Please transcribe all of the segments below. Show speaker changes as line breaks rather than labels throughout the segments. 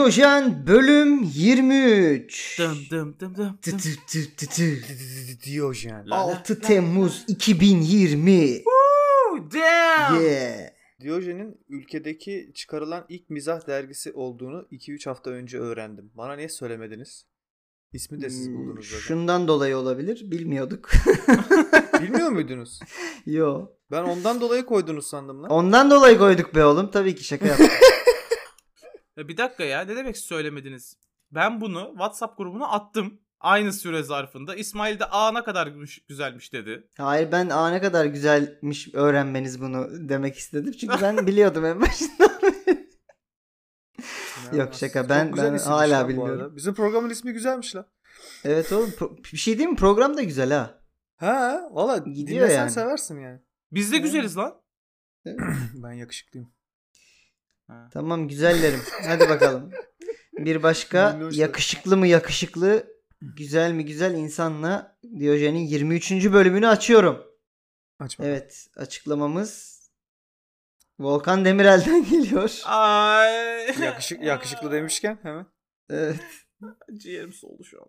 Diyojen bölüm 23.
Dım dım dım dım.
Tı
dım.
tı tı tı tı.
Diyojen.
La-
6 Temmuz 2020.
Oh, damn.
Yeah.
Diyojen'in ülkedeki çıkarılan ilk mizah dergisi olduğunu 2-3 hafta önce öğrendim. Bana niye söylemediniz? İsmi de siz
Hmm,
buldunuz zaten.
Şundan dolayı olabilir. Bilmiyorduk.
Bilmiyor muydunuz?
Yo.
Ben ondan dolayı koydunuz sandım lan.
Ondan dolayı koyduk be oğlum. Tabii ki şaka yaptım.
Ya Bir dakika ya ne demek söylemediniz? Ben bunu WhatsApp grubuna attım. Aynı süre zarfında. İsmail de aa ne kadar gü- güzelmiş dedi.
Hayır ben aa ne kadar güzelmiş öğrenmeniz bunu demek istedim. Çünkü ben biliyordum en başından.
Ne
Yok,
var?
şaka.
Çok
Ben-
güzel
ben
isimmiş
hala
lan bu
bilmiyorum.
arada. Bizim programın ismi güzelmiş lan.
evet oğlum pro- bir şey değil mi? Program da güzel ha.
Ha valla
Gidiyor
dinlesen
yani.
seversin yani.
Biz de güzeliz lan.
Ben yakışıklıyım.
Ha.
Tamam güzellerim. Hadi bakalım. Bir başka
Minnoşlar.
yakışıklı mı yakışıklı, güzel mi güzel insanla Diyojen'in 23. bölümünü açıyorum.
Açma.
Evet açıklamamız Volkan Demirel'den geliyor.
Ay.
Yakışık, yakışıklı demişken hemen.
Evet.
Ciğerim soldu şu an.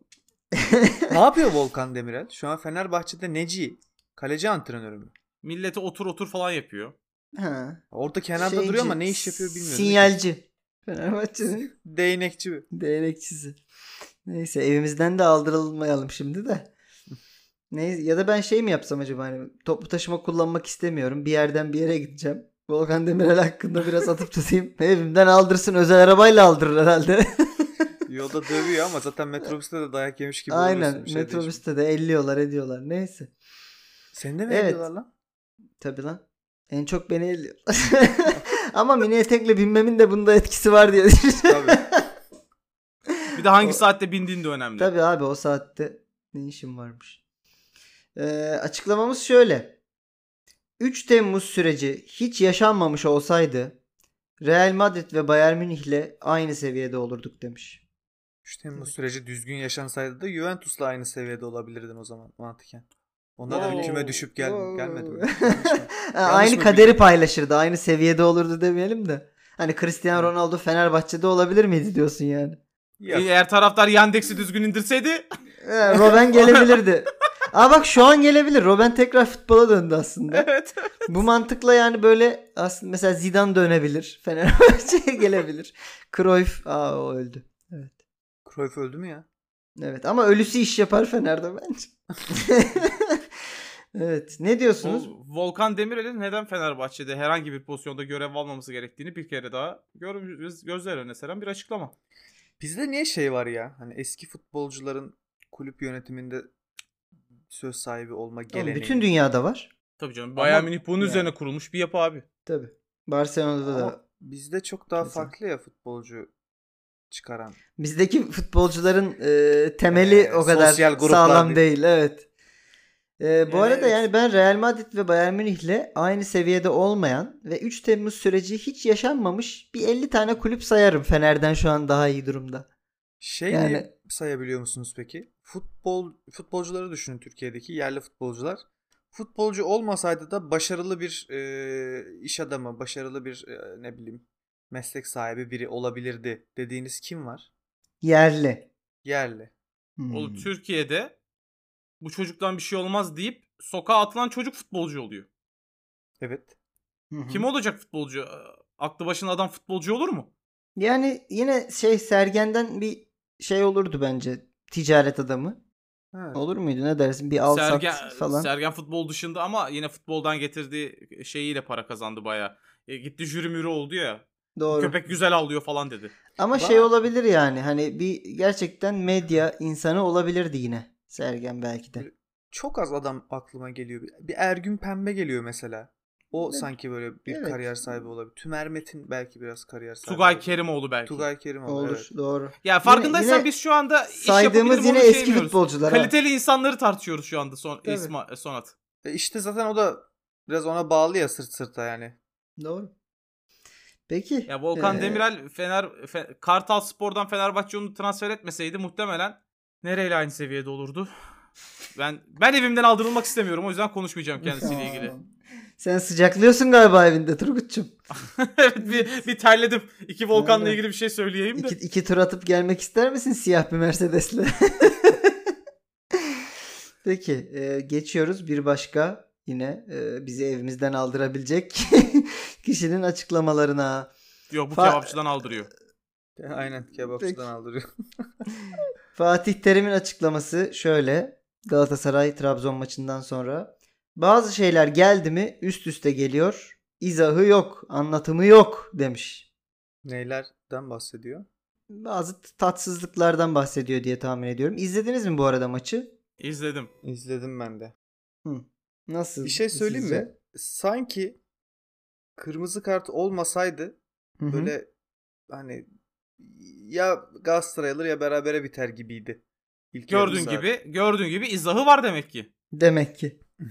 ne yapıyor Volkan Demirel? Şu an Fenerbahçe'de Neci. Kaleci antrenörü mü?
Millete otur otur falan yapıyor.
Ha.
Orada kenarda
Şeyci,
duruyor ama ne iş yapıyor bilmiyorum.
Sinyalci. Fenerbahçe'nin
Değnekçi mi?
değnekçisi. Neyse evimizden de aldırılmayalım şimdi de. Neyse ya da ben şey mi yapsam acaba hani toplu taşıma kullanmak istemiyorum. Bir yerden bir yere gideceğim. Volkan Demirel hakkında biraz atıp tutayım. Evimden aldırsın özel arabayla aldırır herhalde.
Yolda dövüyor ama zaten metrobüste de dayak yemiş gibi
Aynen
oluyorsun. Bir şey değişmiyor.
metrobüste de elliyorlar ediyorlar neyse.
Seni de mi
Evet.
ediyorlar lan?
Tabi lan. En çok beni elliyorlar. Ama mini etekle binmemin de bunda etkisi var diye düşünüyorum.
Tabii.
Bir de hangi
O-
saatte bindiğin de önemli.
Tabii abi o saatte ne işim varmış. Ee, açıklamamız şöyle. 3 Temmuz süreci hiç yaşanmamış olsaydı Real Madrid ve Bayern Münih'le aynı seviyede olurduk demiş.
Şu Temmuz süreci düzgün yaşansaydı da Juventus'la aynı seviyede olabilirdin o zaman mantıken. Onlar da bir
Oo.
küme düşüp gel
Oo.
gelmedi mi? Yanlış mı?
Ha,
Yanlış
aynı
mı
kaderi
biliyorum?
paylaşırdı. Aynı seviyede olurdu demeyelim de. Hani Cristiano Ronaldo Fenerbahçe'de olabilir miydi diyorsun yani.
E,
Yok.
Eğer taraftar Yandex'i düzgün indirseydi
Ee, Robben gelebilirdi. Aa bak şu an gelebilir. Robben tekrar futbola döndü aslında.
evet.
Bu mantıkla yani böyle aslında mesela Zidane dönebilir. Fenerbahçe'ye gelebilir. Cruyff aa o öldü.
Cruyff öldü mü ya?
Evet ama ölüsü iş yapar Fener'de bence. evet ne diyorsunuz?
Vol- Volkan Demirel'in neden Fenerbahçe'de herhangi bir pozisyonda görev almaması gerektiğini bir kere daha görmüş, gözler önüne seren bir açıklama.
Bizde niye şey var ya? Hani eski futbolcuların kulüp yönetiminde söz sahibi olma
Oğlum,
geleneği.
bütün dünyada var.
Tabii canım. Bayern
Ama-
Münih bunun
yani.
üzerine kurulmuş bir yapı abi.
Tabii. Barcelona'da
Ama
da.
bizde çok daha
Güzel.
farklı ya futbolcu çıkaran.
Bizdeki futbolcuların e, temeli
Ee,
o kadar
sosyal gruplar
sağlam değil.
değil.
Evet. E, bu
Yani
arada
evet.
yani ben Real Madrid ve Bayern Münih'le aynı seviyede olmayan ve 3 Temmuz süreci hiç yaşanmamış bir 50 tane kulüp sayarım Fener'den şu an daha iyi durumda.
Şey
Yani-
diye sayabiliyor musunuz peki? Futbol futbolcuları düşünün Türkiye'deki yerli futbolcular. Futbolcu olmasaydı da başarılı bir e, iş adamı, başarılı bir e, ne bileyim meslek sahibi biri olabilirdi dediğiniz kim var?
Yerli.
Yerli.
Hmm.
Oğlum Türkiye'de bu çocuktan bir şey olmaz deyip sokağa atılan çocuk futbolcu oluyor.
Evet.
Hı hı.
Kim olacak futbolcu? Ee, Aklı başında adam futbolcu olur mu?
Yani yine şey Sergen'den bir şey olurdu bence ticaret adamı.
Ha.
Olur muydu ne dersin bir al sat
Sergen,
falan.
Sergen futbol dışında ama yine futboldan getirdiği şeyiyle para kazandı baya. gitti jüri mürü oldu ya.
Doğru.
Köpek güzel avlıyor falan dedi.
Ama
Bana-
şey olabilir yani hani bir gerçekten medya insanı olabilirdi yine Sergen belki de.
Çok az adam aklıma geliyor. Bir- Bir Ergün Pembe geliyor mesela. O
Evet.
sanki böyle bir
Evet.
kariyer sahibi olabilir. Tümer Metin belki biraz kariyer sahibi.
Tugay
olabilir.
Kerimoğlu belki.
Tugay Kerim abi,
Olur
evet.
doğru.
Ya farkındaysan
yine
biz şu anda iş
Saydığımız
yapabilir mi
yine
onu şey
eski
demiyoruz.
futbolcular. ha.
Kaliteli insanları tartışıyoruz şu anda son,
Tabii.
İsma- Sonat.
E işte zaten o da biraz ona bağlı ya sırt sırta yani.
Doğru. Peki.
Ya Volkan
ee,
Demirel Fener Fe- Kartal Spor'dan Fenerbahçe onu transfer etmeseydi muhtemelen nereyle aynı seviyede olurdu? Ben ben evimden aldırılmak istemiyorum o yüzden konuşmayacağım kendisiyle ilgili.
Sen sıcaklıyorsun galiba evinde Turgut'cum.
evet bir, bir terledim. İki volkanla
Aynen.
ilgili bir şey söyleyeyim de.
İki, iki tur atıp gelmek ister misin siyah bir Mercedes'le? Peki e, geçiyoruz bir başka yine e, bizi evimizden aldırabilecek kişinin açıklamalarına.
Yok bu
Fa-
kebapçıdan aldırıyor.
Aynen
Peki.
kebapçıdan aldırıyor.
Fatih Terim'in açıklaması şöyle Galatasaray Trabzon maçından sonra bazı şeyler geldi mi üst üste geliyor izahı yok anlatımı yok demiş.
Neylerden bahsediyor?
Bazı tatsızlıklardan bahsediyor diye tahmin ediyorum. İzlediniz mi bu arada maçı?
İzledim.
İzledim ben de.
Nasıl?
Bir şey söyleyeyim
sizce?
mi? Sanki kırmızı kart olmasaydı
Hı hı.
böyle hani ya Galatasaray alır ya berabere biter gibiydi. İlk yarı
Gördüğün
saat.
gibi gördüğün gibi izahı var demek ki.
Demek ki.
Ya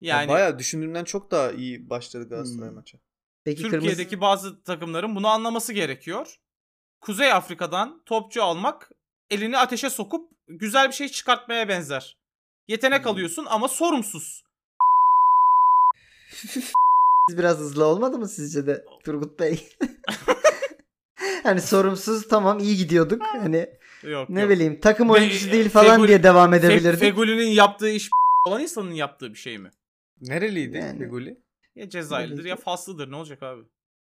Yani
bayağı düşündüğümden çok daha iyi başladı Galatasaray
Hmm.
maça.
Peki
Türkiye'deki
kırmızı
bazı takımların bunu anlaması gerekiyor. Kuzey Afrika'dan topçu almak elini ateşe sokup güzel bir şey çıkartmaya benzer. Yetenek
Hmm.
alıyorsun ama sorumsuz.
Siz biraz hızlı olmadı mı sizce de Turgut Bey? hani sorumsuz tamam iyi gidiyorduk. Hani
Yok
ne
yok.
bileyim takım
Ve-
oyuncusu değil
e,
falan
Feguli-
diye devam
Fe-
edebilirdik.
Fegüli'nin yaptığı iş olan insanın yaptığı bir şey mi?
Nereliydi
Yani.
Feguli?
Ya Cezayirlidir ya
Feguli-
Faslı'dır ne olacak abi?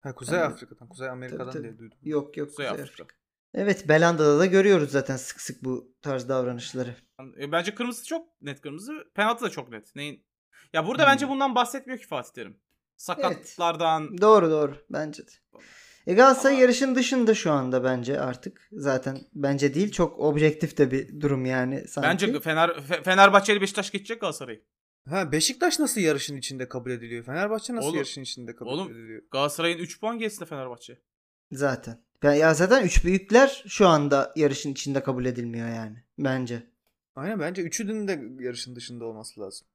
Ha Kuzey
Yani-
Afrika'dan, Kuzey Amerika'dan
tabii.
diye duydum.
Yok yok.
Kuzey
güzel.
Afrika.
Evet Belanda'da da görüyoruz zaten sık sık bu tarz davranışları.
E, Bence kırmızı çok net kırmızı. Penaltı da çok net. Neyin? Ya burada
Hmm.
bence bundan bahsetmiyor ki Fatih Terim. Sakatlardan
Doğru doğru bence de. E Galatasaray
Ama-
yarışın dışında şu anda bence artık. Zaten bence değil çok objektif de bir durum yani sanki.
Bence Fener Fe- Fenerbahçe ile Beşiktaş geçecek Galatasaray'ı.
Ha Beşiktaş nasıl yarışın içinde kabul ediliyor? Fenerbahçe nasıl
Oğlum-
yarışın içinde kabul
oğlum-
ediliyor?
Galatasaray'ın 3 puan gerisinde Fenerbahçe.
Zaten. Ya- Ya zaten üç büyükler şu anda yarışın içinde kabul edilmiyor yani. Bence.
Aynen bence üçünün de yarışın dışında olması lazım.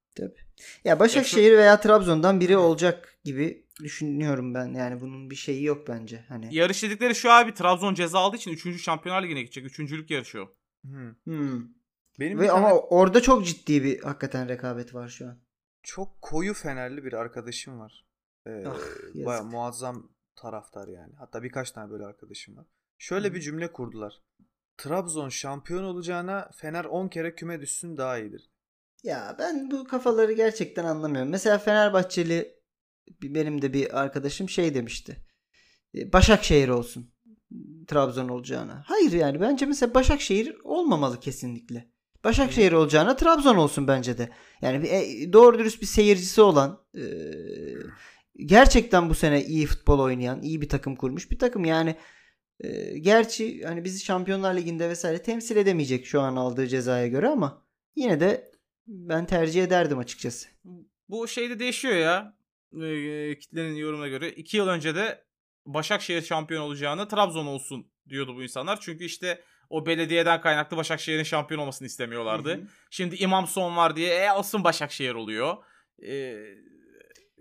Ya Başakşehir veya Trabzon'dan biri olacak gibi düşünüyorum ben. Yani bunun bir şeyi yok bence. Hani.
Yarış dedikleri şu abi Trabzon ceza aldığı için 3. Şampiyonlar Ligi'ne gidecek. 3.lük yarışı o.
Hmm.
Hmm.
Benim bir
Ve ama
tane
orada çok ciddi bir hakikaten rekabet var şu an.
çok koyu Fenerli bir arkadaşım var. Ee,
Ah,
baya
yazık.
muazzam taraftar yani. Hatta birkaç tane böyle arkadaşım var. Şöyle
Hı.
bir cümle kurdular. Trabzon şampiyon olacağına Fener 10 kere küme düşsün daha iyidir.
Ya ben bu kafaları gerçekten anlamıyorum. Mesela Fenerbahçeli bir- benim de bir arkadaşım şey demişti. E, Başakşehir olsun. Trabzon olacağına. Hayır yani bence mesela Başakşehir olmamalı kesinlikle. Başakşehir olacağına Trabzon olsun bence de. Yani bir, e, doğru dürüst bir seyircisi olan e, gerçekten bu sene iyi futbol oynayan, iyi bir takım kurmuş bir takım. Yani e, gerçi hani bizi Şampiyonlar Ligi'nde vesaire temsil edemeyecek şu an aldığı cezaya göre ama yine de ben tercih ederdim açıkçası.
Bu şeyde değişiyor ya. Ee, kitlenin yorumuna göre 2 yıl önce de Başakşehir şampiyon olacağını Trabzon olsun diyordu bu insanlar. Çünkü işte o belediyeden kaynaklı Başakşehir'in şampiyon olmasını istemiyorlardı. Şimdi İmam Son var diye e olsun Başakşehir oluyor. Ee,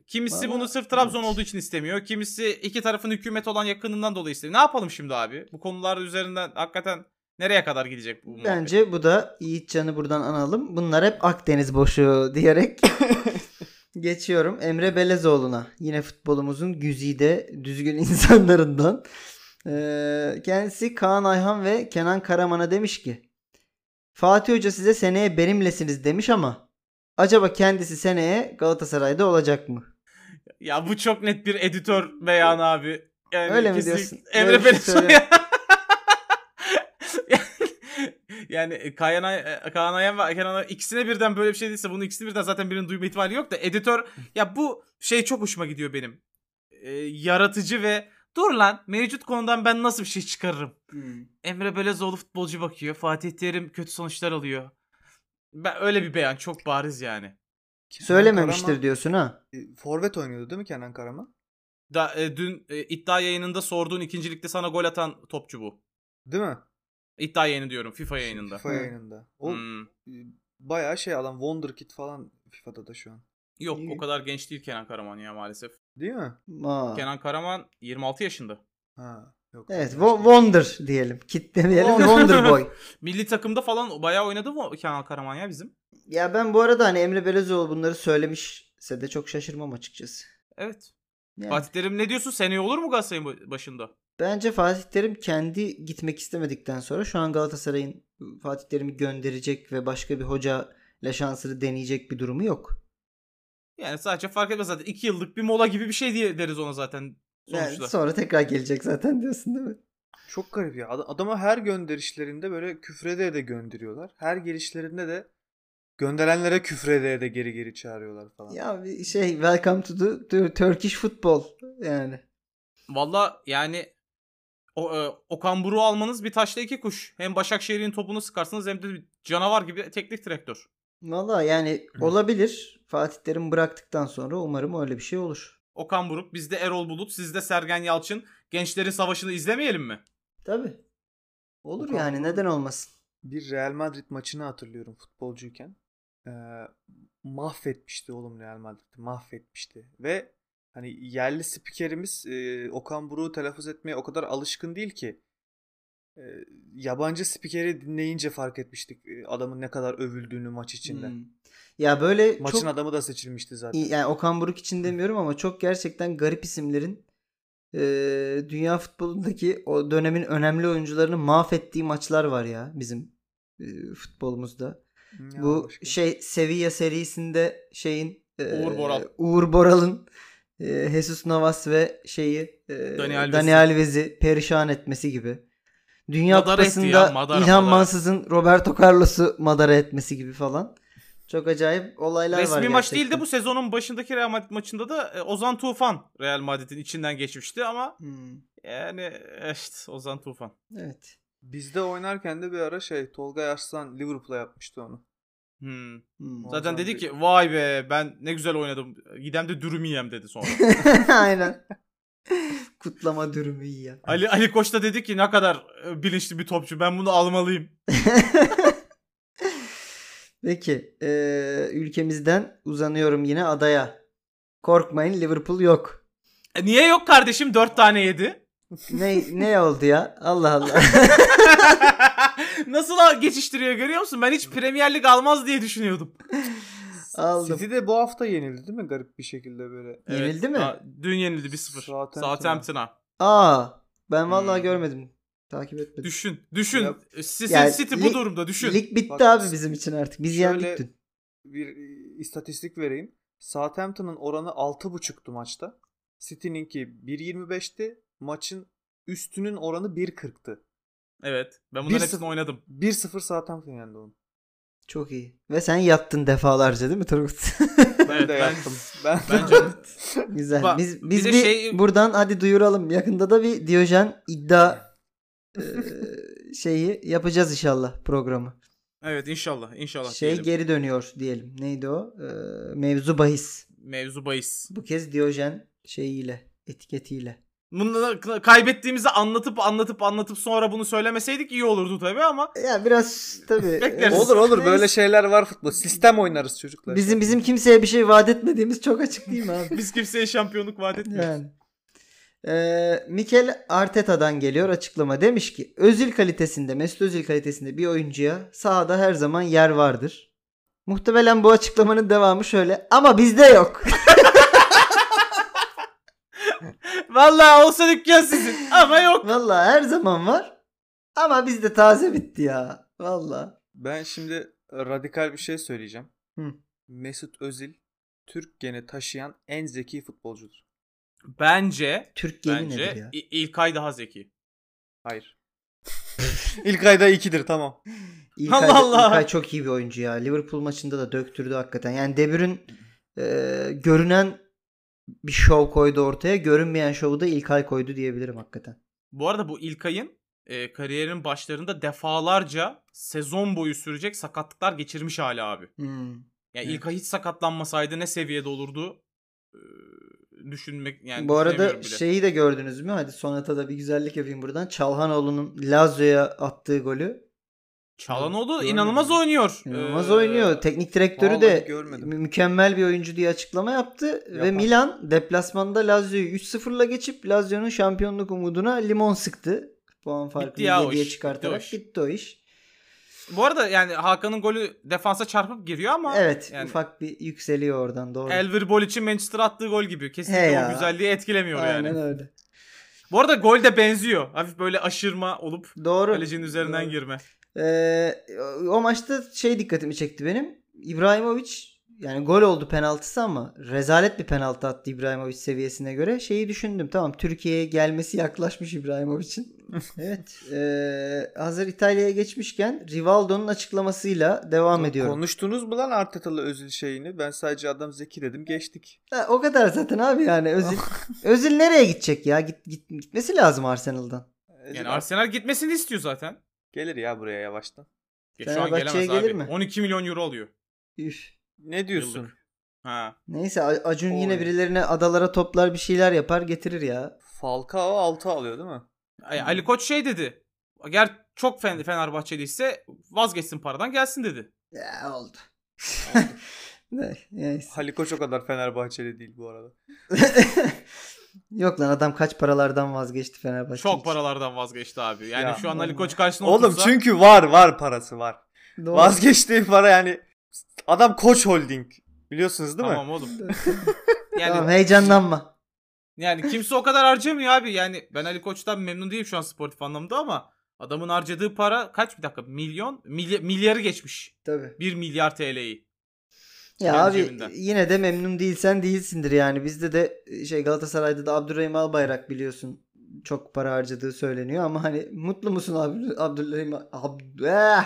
kimisi
Vallahi,
bunu sırf Trabzon
evet.
olduğu için istemiyor. Kimisi iki tarafın hükümet olan yakınından dolayı istemiyor. Ne yapalım şimdi abi? Bu konular üzerinden hakikaten nereye kadar gidecek bu muhabbet?
Bence bu da Yiğitcan'ı buradan analım. Bunlar hep Akdeniz boşu diyerek geçiyorum. Emre Belezoğlu'na. Yine futbolumuzun güzide düzgün insanlarından. Ee, kendisi Kaan Ayhan ve Kenan Karaman'a demiş ki Fatih Hoca size seneye benimlesiniz demiş ama acaba kendisi seneye Galatasaray'da olacak mı?
Ya bu çok net bir editör beyanı abi. Yani
Öyle mi
kesinlikle-
diyorsun? Böyle bir
Emre
şey
Belezoğlu.
söyleme.
yani Kaan Ay- e, Kaan Ayhan ve Kenan Ayhan ikisine birden böyle bir şey değilse bunun ikisini birden zaten birinin duyma ihtimali yok da editör ya bu şey çok hoşuma gidiyor benim. Ee, yaratıcı ve dur lan mevcut konudan ben nasıl bir şey çıkarırım? Emre Belezoğlu futbolcu bakıyor. Fatih Terim kötü sonuçlar alıyor. Ben öyle bir beyan çok bariz yani.
Kenan
Söylememiştir
Karaman,
diyorsun ha.
e, Forvet oynuyordu değil mi Kenan Karaman?
Da e, dün e, iddia yayınında sorduğun ikincilikte sana gol atan topçu bu.
Değil mi?
İddia yayını diyorum FIFA yayınında.
Şey, FIFA
Hı.
yayınında. O
Hmm.
e, bayağı şey adam Wonderkid falan FIFA'da da şu an.
Yok o kadar genç değil Kenan Karaman ya maalesef.
Değil mi?
Aa.
Kenan Karaman 26 yaşında.
Ha. Yok.
Evet
Başka. şey.
wo- Wonder diyelim. Kit demeyelim de
Wonder.
Wonder Boy.
Milli takımda falan bayağı oynadı mı Kenan Karaman ya bizim?
Ya ben bu arada hani Emre Belezoğlu bunları söylemiş verirse de çok şaşırmam açıkçası.
Evet.
Yani
Fatih Terim ne diyorsun? Seneye olur mu Galatasaray'ın başında?
Bence Fatih Terim kendi gitmek istemedikten sonra şu an Galatasaray'ın Fatih Terim'i gönderecek ve başka bir hoca ile şansını deneyecek bir durumu yok.
Yani sadece fark etmez zaten. 2 yıllık bir mola gibi bir şey diye deriz ona zaten
Yani
sonuçta.
sonra tekrar gelecek zaten diyorsun değil mi?
Çok garip ya. Ad- Adama her gönderişlerinde böyle küfredeye de gönderiyorlar. Her gelişlerinde de gönderenlere küfredeye de geri geri çağırıyorlar falan.
Ya bir şey welcome to the to Turkish football yani.
Valla yani o, e, Okan Buruk'u almanız bir taşla iki kuş. Hem Başakşehir'in topunu sıkarsınız hem de bir canavar gibi teknik direktör.
Valla yani olabilir. Fatih Terim bıraktıktan sonra umarım öyle bir şey olur.
Okan Buruk, bizde Erol Bulut, sizde Sergen Yalçın. Gençlerin savaşını izlemeyelim mi?
Tabi. Olur
Okan
yani
Buruk.
neden olmasın.
Bir Real Madrid maçını hatırlıyorum futbolcuyken. Ee, mahvetmişti oğlum Real Madrid'i. Mahvetmişti. Ve hani yerli spikerimiz e, Okan Buruk'u telaffuz etmeye o kadar alışkın değil ki. E, yabancı spikeri dinleyince fark etmiştik e, adamın ne kadar övüldüğünü maç içinde.
Hmm. Ya böyle
Maçın
çok
adamı da seçilmişti zaten.
İyi, yani Okan Buruk için demiyorum ama çok gerçekten garip isimlerin e, dünya futbolundaki o dönemin önemli oyuncularını mahvettiği maçlar var ya bizim e, futbolumuzda.
Hmm, Ya
Bu
başka.
şey Sevilla serisinde şeyin e,
Uğur Boral.
Uğur Boral'ın e, Jesus Navas ve şeyi e,
Dani Alves'i.
Dani Alves'i perişan etmesi gibi. Dünya
Madara etti
Kupası'nda
ya, madara,
İlhan
madara.
Mansız'ın Roberto Carlos'u madara etmesi gibi falan. Çok acayip olaylar var.
Resmi maç
gerçekten.
değildi bu sezonun başındaki Real Madrid maçında da e, Ozan Tufan Real Madrid'in içinden geçmişti ama
Hmm,
yani e, işte Ozan Tufan.
evet.
Bizde oynarken de bir ara şey Tolga Yarslan Liverpool'a yapmıştı onu.
Hmm.
Hmm.
Ozan
Zaten dedi
değil.
ki vay be ben ne güzel oynadım. Gidem de dürüm yiyem dedi sonra.
Aynen. Kutlama dürümü iyi ya.
Ali Ali Koç da dedi ki ne kadar e, bilinçli bir topçu ben bunu almalıyım.
Peki eee, ülkemizden uzanıyorum yine adaya. Korkmayın Liverpool yok.
E, niye yok kardeşim 4 tane yedi?
Ne ne oldu ya? Allah Allah.
Nasıl a- geçiştiriyor görüyor musun? Ben hiç Premier Lig almaz diye düşünüyordum.
Aldım.
City de bu hafta yenildi değil mi garip bir şekilde böyle.
Yenildi mi?
daha- Dün yenildi 1-0.
Southampton'a.
Southampton'a.
Aa ben vallahi
Hmm.
görmedim. Takip etmedim.
Düşün. Düşün.
Ya-
City,
Yani
City
lig-
bu durumda düşün.
Lig bitti
Bak,
abi bizim için artık. Biz
şöyle-
yendik dün.
Bir e, istatistik vereyim. Southampton'ın oranı 6.5'tu maçta. City'ninki 1.25'ti. Maçın üstünün oranı 1.40'tı.
Evet. Ben bunların
1-0.
hepsini oynadım.
1-0 Southampton yendi onu.
Çok iyi. Ve sen yattın defalarca değil mi Turgut?
Ben
Evet,
de
ben-
yaptım. Ben,
Bence
Güzel.
Bak,
biz
bir
biz
de
bir,
şey-
buradan hadi duyuralım. Yakında da bir Diyojen iddia eee, şeyi yapacağız inşallah programı.
evet inşallah. inşallah
şey
diyelim.
geri dönüyor diyelim. Neydi o? Eee, mevzu bahis.
Mevzu bahis.
Bu kez Diyojen şeyiyle, etiketiyle.
Bunları k- kaybettiğimizi anlatıp anlatıp anlatıp sonra bunu söylemeseydik iyi olurdu tabii ama
Ya biraz tabii. e,
Bekleriz.
olur olur böyle
Neyse.
şeyler var futbol. Sistem oynarız çocuklar.
Bizim bizim kimseye bir şey vaat etmediğimiz çok açık değil mi abi?
biz kimseye şampiyonluk vaat etmiyoruz.
yani. Eee, Mikel Arteta'dan geliyor açıklama. Demiş ki özil kalitesinde Mesut Özil kalitesinde bir oyuncuya sahada her zaman yer vardır. Muhtemelen bu açıklamanın devamı şöyle ama bizde yok.
Vallahi olsa dükkan sizin ama yok.
Vallahi her zaman var ama bizde taze bitti ya. Vallahi.
Ben şimdi radikal bir şey söyleyeceğim.
Hı.
Mesut Özil Türk geni taşıyan en zeki futbolcudur.
Bence
Türk geni
bence
nedir ya?
İ- İlkay daha zeki.
Hayır. İlk ayda 2'dir tamam.
İlkay,
Allah Allah.
İlkay çok iyi bir oyuncu ya. Liverpool maçında da döktürdü hakikaten. Yani De Bruyne e, görünen bir şov koydu ortaya. Görünmeyen şovu da İlkay koydu diyebilirim hakikaten.
Bu arada bu İlkay'ın e, kariyerin başlarında defalarca sezon boyu sürecek sakatlıklar geçirmiş hala abi. Yani
Evet.
İlkay hiç sakatlanmasaydı ne seviyede olurdu? Ee, düşünmek yani
Bu arada şey
düşünemiyorum bile.
şeyi de gördünüz mü? Hadi Sonata da bir güzellik yapayım buradan. Çalhanoğlu'nun Lazio'ya attığı golü
Çalhanoğlu
Görmedim.
inanılmaz oynuyor.
inanılmaz
Ee,
oynuyor. Teknik direktörü de
vallahi görmedim.
mü- mükemmel bir oyuncu diye açıklama yaptı ve
Yapar.
Milan deplasmanda Lazio'yu 3-0'la geçip Lazio'nun şampiyonluk umuduna limon sıktı. Puan farkını
ya o
7'ye
iş, bitti o
çıkartarak
iş.
bitti o iş.
Bu arada yani Hakan'ın golü defansa çarpıp giriyor ama
Evet
yani
ufak bir yükseliyor oradan doğru.
Elver Bol için Manchester attığı gol gibi. Kesinlikle
He
o
ya.
güzelliği etkilemiyor
Aynen
yani.
öyle.
Bu arada gol de benziyor. Hafif böyle aşırma olup
Doğru.
kalecinin üzerinden
Doğru.
girme.
Ee, o- o maçta şey dikkatimi çekti benim. İbrahimovic yani gol oldu penaltısı ama rezalet bir penaltı attı İbrahimovic seviyesine göre. Şeyi düşündüm tamam Türkiye'ye gelmesi yaklaşmış İbrahimovic'in. evet. ee, hazır İtalya'ya geçmişken Rivaldo'nun açıklamasıyla devam ediyorum.
Konuştunuz mu lan Arteta'lı özil şeyini? Ben sadece adam zeki dedim geçtik.
Ha, o kadar zaten abi yani Özil. Özil nereye gidecek ya? Git, git- gitmesi lazım Arsenal'dan.
Özil
Yani
artık
Arsenal gitmesini istiyor zaten.
Ee, gelir ya buraya yavaştan.
Ya şu an
Fenerbahçe'ye
gelemez
gelir
abi.
mi?
12 milyon euro alıyor.
Üf.
Ne diyorsun?
Yıllık. Ha.
Neyse A- Acun
Oy.
yine birilerine adalara toplar bir şeyler yapar getirir ya.
Falcao 6 alıyor değil mi?
Ay-
Hmm.
Ali Koç şey dedi. Eğer çok Fen- Fenerbahçeli ise vazgeçsin paradan gelsin dedi.
Ya oldu. Ne- Neyse.
Halikoç o kadar Fenerbahçeli değil bu arada.
Yok lan adam kaç paralardan vazgeçti Fenerbahçe. için.
Çok paralardan vazgeçti abi. Yani
Ya.
şu an Ali Koç karşısında
Oğlum
otursa-
çünkü var var parası var.
Doğru.
Vazgeçtiği para yani adam Koç Holding biliyorsunuz değil mi?
Tamam oğlum. Yani
Tamam heyecanlanma.
yani kimse o kadar harcamıyor abi. Yani ben Ali Koç'tan memnun değilim şu an sportif anlamda ama adamın harcadığı para kaç bir dakika milyon milya- milyarı geçmiş.
Tabii.
1 milyar TL'yi.
Ya
Kendi
abi
cebinden.
yine de memnun değilsen değilsindir yani. Bizde de şey Galatasaray'da da Abdurrahim Albayrak biliyorsun çok para harcadığı söyleniyor ama hani mutlu musun abi Abdurrahim Abd eh!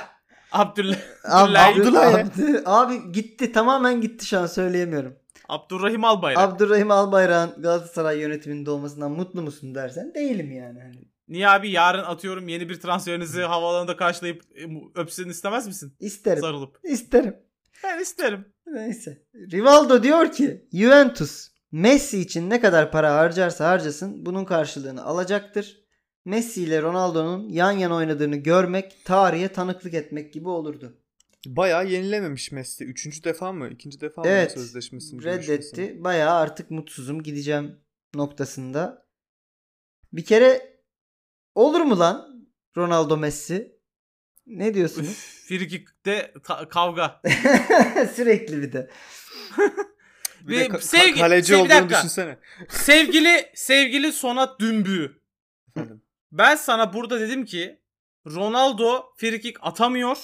Abdullah
Ab-
Abdullah.
Abdullah- Abd- abi gitti tamamen gitti şu an söyleyemiyorum.
Abdurrahim Albayrak.
Abdurrahim Albayrak'ın Galatasaray yönetiminde olmasından mutlu musun dersen değilim yani. Hani
Niye abi yarın atıyorum yeni bir transferinizi havaalanında karşılayıp e, mu- öpsün istemez misin?
isterim.
Sarılıp.
İsterim.
Ben isterim.
Neyse. Rivaldo diyor ki Juventus Messi için ne kadar para harcarsa harcasın bunun karşılığını alacaktır. Messi ile Ronaldo'nun yan yana oynadığını görmek tarihe tanıklık etmek gibi olurdu.
Bayağı yenilememiş Messi. Üçüncü defa mı? ikinci defa
Evet.
mı sözleşmesini? görüşmesini?
reddetti. Bayağı artık mutsuzum gideceğim noktasında. Bir kere olur mu lan Ronaldo Messi? Ne diyorsunuz?
Frikik'te ta- kavga.
Sürekli bir de.
Bir de
Ve
ka-
sevgi-
kaleci
sevgi- bir
olduğunu
dakika.
düşünsene.
sevgili sevgili Sonat Dümbü.
Efendim.
Ben sana burada dedim ki Ronaldo frikik atamıyor.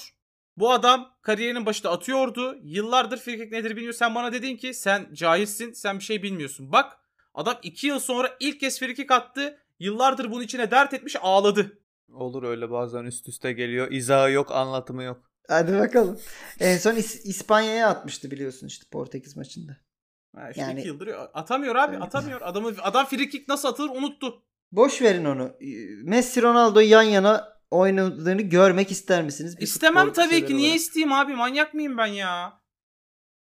Bu adam kariyerinin başında atıyordu. Yıllardır frikik nedir bilmiyor. Sen bana dedin ki sen caizsin. Sen bir şey bilmiyorsun. Bak adam 2 yıl sonra ilk kez frikik attı. Yıllardır bunun içine dert etmiş ağladı.
Olur öyle bazen üst üste geliyor. İzahı yok, anlatımı yok.
Hadi bakalım. En son İs- İspanya'ya atmıştı biliyorsun işte Portekiz maçında.
Ha, işte
Yani-
iki yıldır atamıyor abi atamıyor. Adamı, adam frikik nasıl atılır unuttu.
Boş verin onu. Ee, Messi Ronaldo yan yana oynadığını görmek ister misiniz? Bir
İstemem
futbol
tabii ki.
severi
Niye
olarak.
isteyeyim abi? Manyak mıyım ben ya?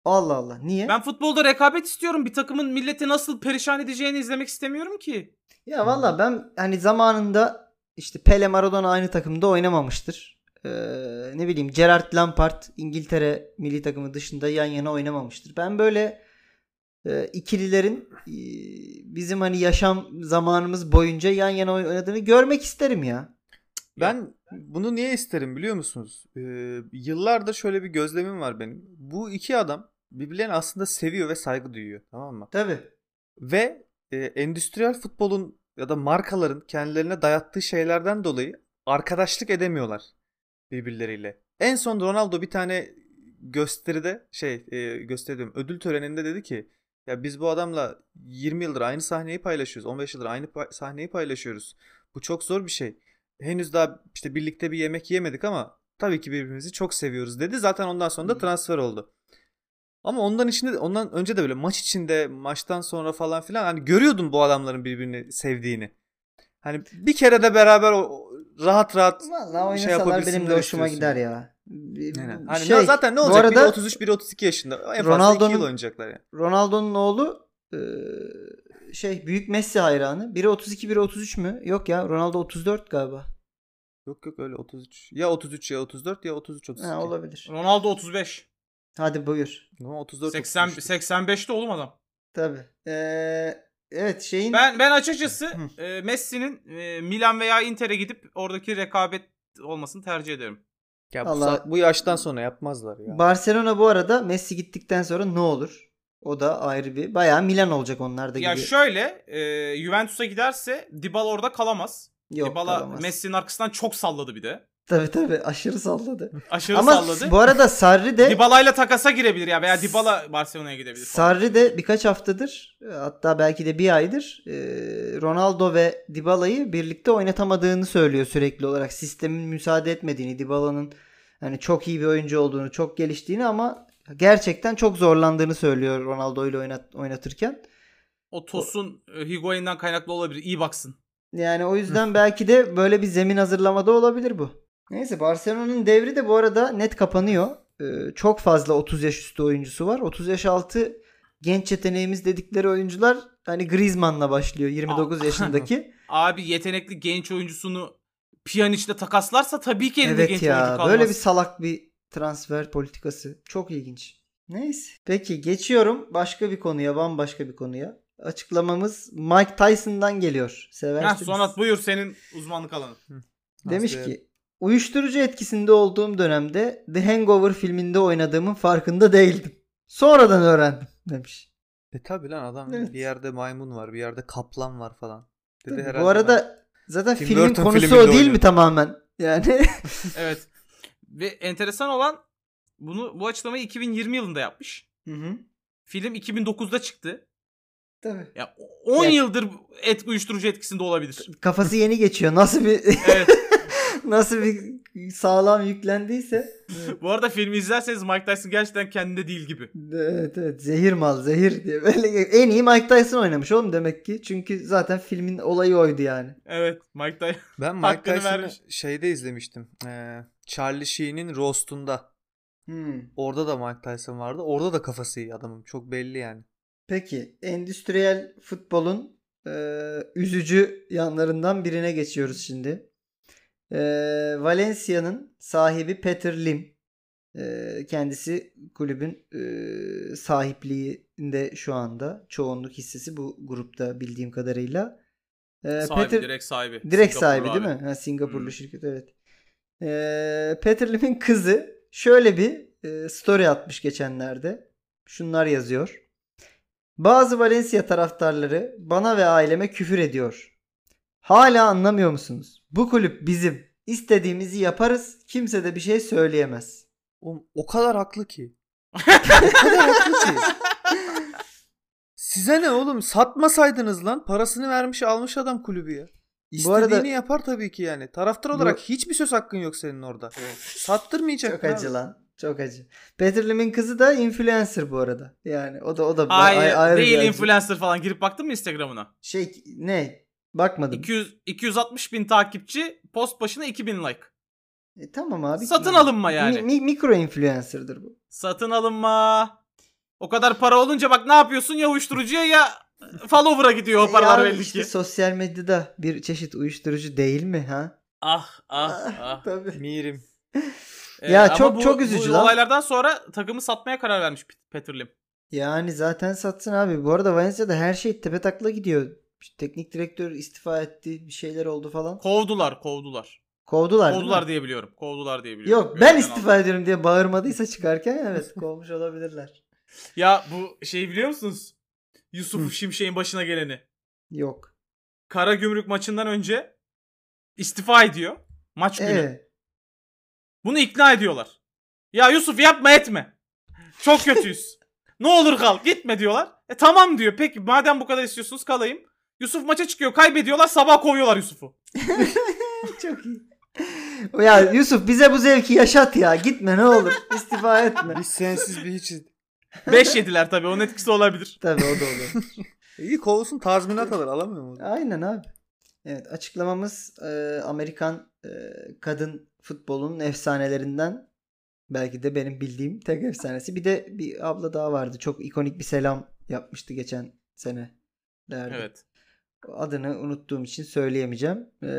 Allah Allah. Niye?
Ben futbolda rekabet istiyorum. Bir takımın milleti nasıl perişan edeceğini izlemek istemiyorum ki.
Ya valla ben hani zamanında işte Pele Maradona aynı takımda oynamamıştır. Ee, ne bileyim Gerard Lampard İngiltere milli takımı dışında yan yana oynamamıştır. Ben böyle e, ikililerin e, bizim hani yaşam zamanımız boyunca yan yana oynadığını görmek isterim ya.
Ben bunu niye isterim biliyor musunuz? Ee, yıllardır şöyle bir gözlemim var benim. Bu iki adam birbirlerini aslında seviyor ve saygı duyuyor. Tamam mı?
Tabii.
Ve e, endüstriyel futbolun ya da markaların kendilerine dayattığı şeylerden dolayı arkadaşlık edemiyorlar birbirleriyle. En son Ronaldo bir tane gösteride şey e, gösterdim ödül töreninde dedi ki ya biz bu adamla 20 yıldır aynı sahneyi paylaşıyoruz. 15 yıldır aynı pa- sahneyi paylaşıyoruz. Bu çok zor bir şey. Henüz daha işte birlikte bir yemek yemedik ama tabii ki birbirimizi çok seviyoruz dedi. Zaten ondan sonra da
Hı.
transfer oldu. Ama ondan içinde ondan önce de böyle maç içinde maçtan sonra falan filan hani görüyordum bu adamların birbirini sevdiğini. Hani bir kere de beraber o- o, rahat rahat
Valla
şey
oynasalar benim de
yapabilsinler
hoşuma
istiyorsun.
gider ya. Bir-
Aynen. Hani
şey,
zaten ne
bu
olacak?
arada-
Biri 33, biri 32 yaşında. En fazla 2
Ronaldo'nun-
yıl oynayacaklar yani.
Ronaldo'nun oğlu e, şey büyük Messi hayranı. Biri 32 biri 33 mü? Yok ya Ronaldo 34 galiba.
Yok yok öyle 33. Ya 33 ya 34 ya 33 32.
Ha, olabilir.
Ronaldo 35.
Hadi buyur.
Ama 34
80
33.
85'te oğlum adam.
Tabii. Ee, evet şeyin
Ben ben açıkçası e, Messi'nin e, Milan veya Inter'e gidip oradaki rekabet olmasını tercih ederim.
Ya bu,
Allah-
sa- bu yaştan sonra yapmazlar ya.
Barcelona bu arada Messi gittikten sonra ne olur? O da ayrı bir bayağı Milan olacak onlar da
Ya
gibi.
şöyle e, Juventus'a giderse Dybala orada kalamaz.
Yok,
Dybala
kalamaz.
Messi'nin arkasından çok salladı bir de.
Tabii tabii aşırı salladı.
Aşırı
Ama
salladı.
bu arada Sarri de
Dybala'yla takasa girebilir ya veya Dybala Barcelona'ya gidebilir. falan.
Sarri de birkaç haftadır hatta belki de bir aydır e, Ronaldo ve Dybala'yı birlikte oynatamadığını söylüyor sürekli olarak. Sistemin müsaade etmediğini, Dybala'nın hani çok iyi bir oyuncu olduğunu, çok geliştiğini ama gerçekten çok zorlandığını söylüyor Ronaldo ile oynat, oynatırken.
O Tosun e, Higuain'den kaynaklı olabilir. İyi baksın.
Yani o yüzden belki de böyle bir zemin hazırlamada olabilir bu. Neyse Barcelona'nın devri de bu arada net kapanıyor. Ee, çok fazla 30 yaş üstü oyuncusu var. 30 yaş altı genç yeteneğimiz dedikleri oyuncular hani Griezmann'la başlıyor 29
Aa.
yaşındaki.
Abi yetenekli genç oyuncusunu Pjanic'le takaslarsa tabii ki elinde genç
evet
oyuncu
ya
kalmaz.
böyle bir salak bir transfer politikası. Çok ilginç. Neyse. Peki geçiyorum başka bir konuya bambaşka bir konuya. Açıklamamız Mike Tyson'dan geliyor.
Heh,
Seversiniz.
Sonat buyur senin uzmanlık alanı.
Demiş
Nasıl
ki uyuşturucu etkisinde olduğum dönemde The Hangover filminde oynadığımın farkında değildim. Sonradan öğrendim demiş.
E tabi lan adam
Evet.
bir yerde maymun var, bir yerde kaplan var falan. Dedi
Tabii,
herhalde
Bu
ben-
arada zaten
Tim
filmin
Burton
konusu o
filminde
değil mi
oynuyordu.
tamamen? Yani
Evet. Ve enteresan olan bunu bu açıklamayı 2020 yılında yapmış.
Hı hı.
Film 2009'da çıktı.
Tabii.
Ya 10
Ya-
yıldır et uyuşturucu etkisinde olabilir.
Kafası yeni geçiyor. Nasıl bir
Evet.
nasıl bir sağlam yüklendiyse.
bu arada filmi izlerseniz Mike Tyson gerçekten kendinde değil gibi.
Evet evet zehir mal zehir diye. Böyle en iyi Mike Tyson oynamış oğlum demek ki. Çünkü zaten filmin olayı oydu yani.
Evet, Mike Tyson.
Ben Mike
Hakkını
Tyson'ı
vermiş.
şeyde izlemiştim. Ee, Charlie Sheen'in Roast'unda. Orada da Mike Tyson vardı. Orada da kafası iyi adamın. Çok belli yani.
Peki endüstriyel futbolun e, üzücü yanlarından birine geçiyoruz şimdi. E, Valencia'nın sahibi Peter Lim. E, kendisi kulübün e, sahipliğinde şu anda. Çoğunluk hissesi bu grupta bildiğim kadarıyla. E,
sahibi,
Peter-
direkt sahibi.
Direkt
Singapurlu
sahibi
abi.
değil mi? Ha, Singapurlu
Hmm.
şirket evet. Ee, Peter Lim'in kızı şöyle bir e, story atmış geçenlerde. Şunlar yazıyor. Bazı Valencia taraftarları bana ve aileme küfür ediyor. Hala anlamıyor musunuz? Bu kulüp bizim. İstediğimizi yaparız. Kimse de bir şey söyleyemez.
O, o kadar haklı ki. o kadar haklı ki. Size ne oğlum? Satmasaydınız lan. Parasını vermiş almış adam kulübü ya.
Bu
İstediğini
arada-
yapar tabii ki yani. Taraftar
Bu-
olarak hiçbir söz hakkın yok senin orada. Sattırmayacak.
Çok
abi.
acı lan. Çok acı. Peter Lim'in kızı da influencer bu arada. Yani o da o da
Hayır,
ay- ayrı bir
değil
acı.
influencer falan. Girip baktın mı Instagram'ına?
Şey ne? Bakmadım.
200, 260 bin takipçi, post başına 2000 like.
E, tamam abi.
Satın alınma yani.
Mi- mi- mikro influencer'dır bu.
Satın alınma. O kadar para olunca bak ne yapıyorsun ya uyuşturucuya ya follower'a gidiyor o
Ya
paralar belli
işte
ki.
sosyal medyada bir çeşit uyuşturucu değil mi ha?
Ah ah ah.
Tabii.
Mirim.
Ya
ama
çok- çok üzücü
bu
lan.
olaylardan sonra takımı satmaya karar vermiş Pit- Peterlim.
Yani zaten satsın abi. Bu arada Valencia'da her şey tepe takla gidiyor. İşte teknik direktör istifa etti. Bir şeyler oldu falan.
Kovdular, kovdular.
Kovdular. değil
Kovdular
mi?
diye biliyorum. Kovdular diye biliyorum.
Yok ben
Görevden aldı.
istifa ediyorum diye bağırmadıysa çıkarken evet kovmuş olabilirler.
Ya bu şey biliyor musunuz? Yusuf
Hı.
Şimşek'in başına geleni.
Yok.
Kara Gümrük maçından önce istifa ediyor. Maç günü.
Ee,
Bunu ikna ediyorlar. Ya Yusuf yapma etme. Çok kötüyüz. ne olur kal gitme diyorlar. E tamam diyor peki madem bu kadar istiyorsunuz kalayım. Yusuf maça çıkıyor kaybediyorlar sabah kovuyorlar Yusuf'u.
çok iyi. Ya Yusuf bize bu zevki yaşat ya. Gitme ne olur. İstifa etme.
Biz sensiz bir hiçiz.
5 yediler tabii onun etkisi olabilir.
Tabii o da olur.
İyi kovulsun tazminat alır alamıyor mu?
Aynen abi. Evet açıklamamız e, Amerikan e, kadın futbolunun efsanelerinden belki de benim bildiğim tek efsanesi. Bir de bir abla daha vardı. Çok ikonik bir selam yapmıştı geçen sene.
Evet.
Adını unuttuğum için söyleyemeyeceğim. E,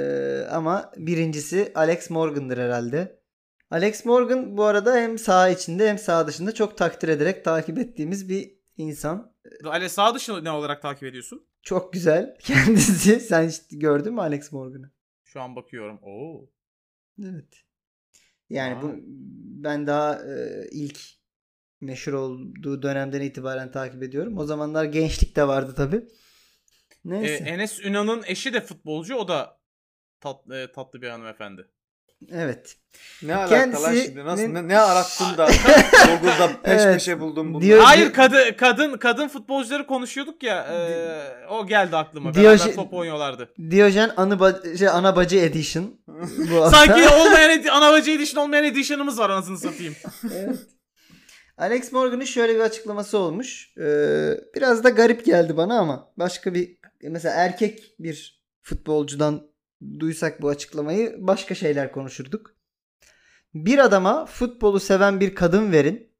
ama birincisi Alex Morgan'dır herhalde. Alex Morgan bu arada hem saha içinde hem saha dışında çok takdir ederek takip ettiğimiz bir insan.
Ale sağ dışı ne olarak takip ediyorsun?
Çok güzel. Kendisi. Sen hiç gördün mü Alex Morgan'ı?
Şu an bakıyorum. Oo.
Evet. Yani
Aa.
bu ben daha e, ilk meşhur olduğu dönemden itibaren takip ediyorum. O zamanlar gençlik de vardı tabii.
Ee,
Neyse.
Enes Ünal'ın eşi de futbolcu. O da tat, e, tatlı bir hanımefendi.
evet.
Ne alaka lan şimdi?
Kendisinin-
Nasıl, ne, ne arattın da Google'da peş
Evet.
peşe buldum bunu.
Diyor-
Hayır kadı, kadın kadın futbolcuları konuşuyorduk ya. e, o geldi aklıma. Beraber
Diyoje-
top oynuyorlardı.
Diyojen anı ba- şey, ana bacı edition bu hafta.
Sanki olmayan edi- anavacı edition olmayan edition'ımız var anasını satayım.
Evet. Alex Morgan'ın şöyle bir açıklaması olmuş. Ee, biraz da garip geldi bana ama başka bir mesela erkek bir futbolcudan duysak bu açıklamayı başka şeyler konuşurduk. Bir adama futbolu seven bir kadın verin.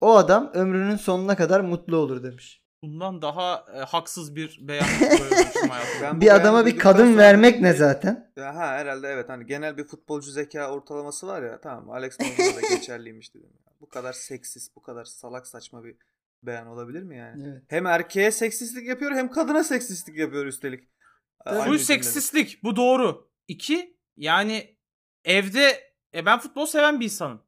O adam ömrünün sonuna kadar mutlu olur demiş.
Bundan daha e, haksız bir beyan görmüştüm hayatımda.
Ben bu
Bir adama
beyanı
bir
duyduktan
kadın
sonra-
vermek ne zaten?
Ya Ha herhalde evet hani genel bir futbolcu zeka ortalaması var ya tamam Alex Morgan'a da geçerliymiş dedim. Ya. Bu kadar seksist bu kadar salak saçma bir beyan olabilir mi yani?
Evet.
Hem erkeğe seksistlik yapıyor hem kadına seksistlik yapıyor üstelik. Aynı
Bu
cümlede.
seksistlik. Bu doğru. İki, yani evde e ben futbol seven bir insanım.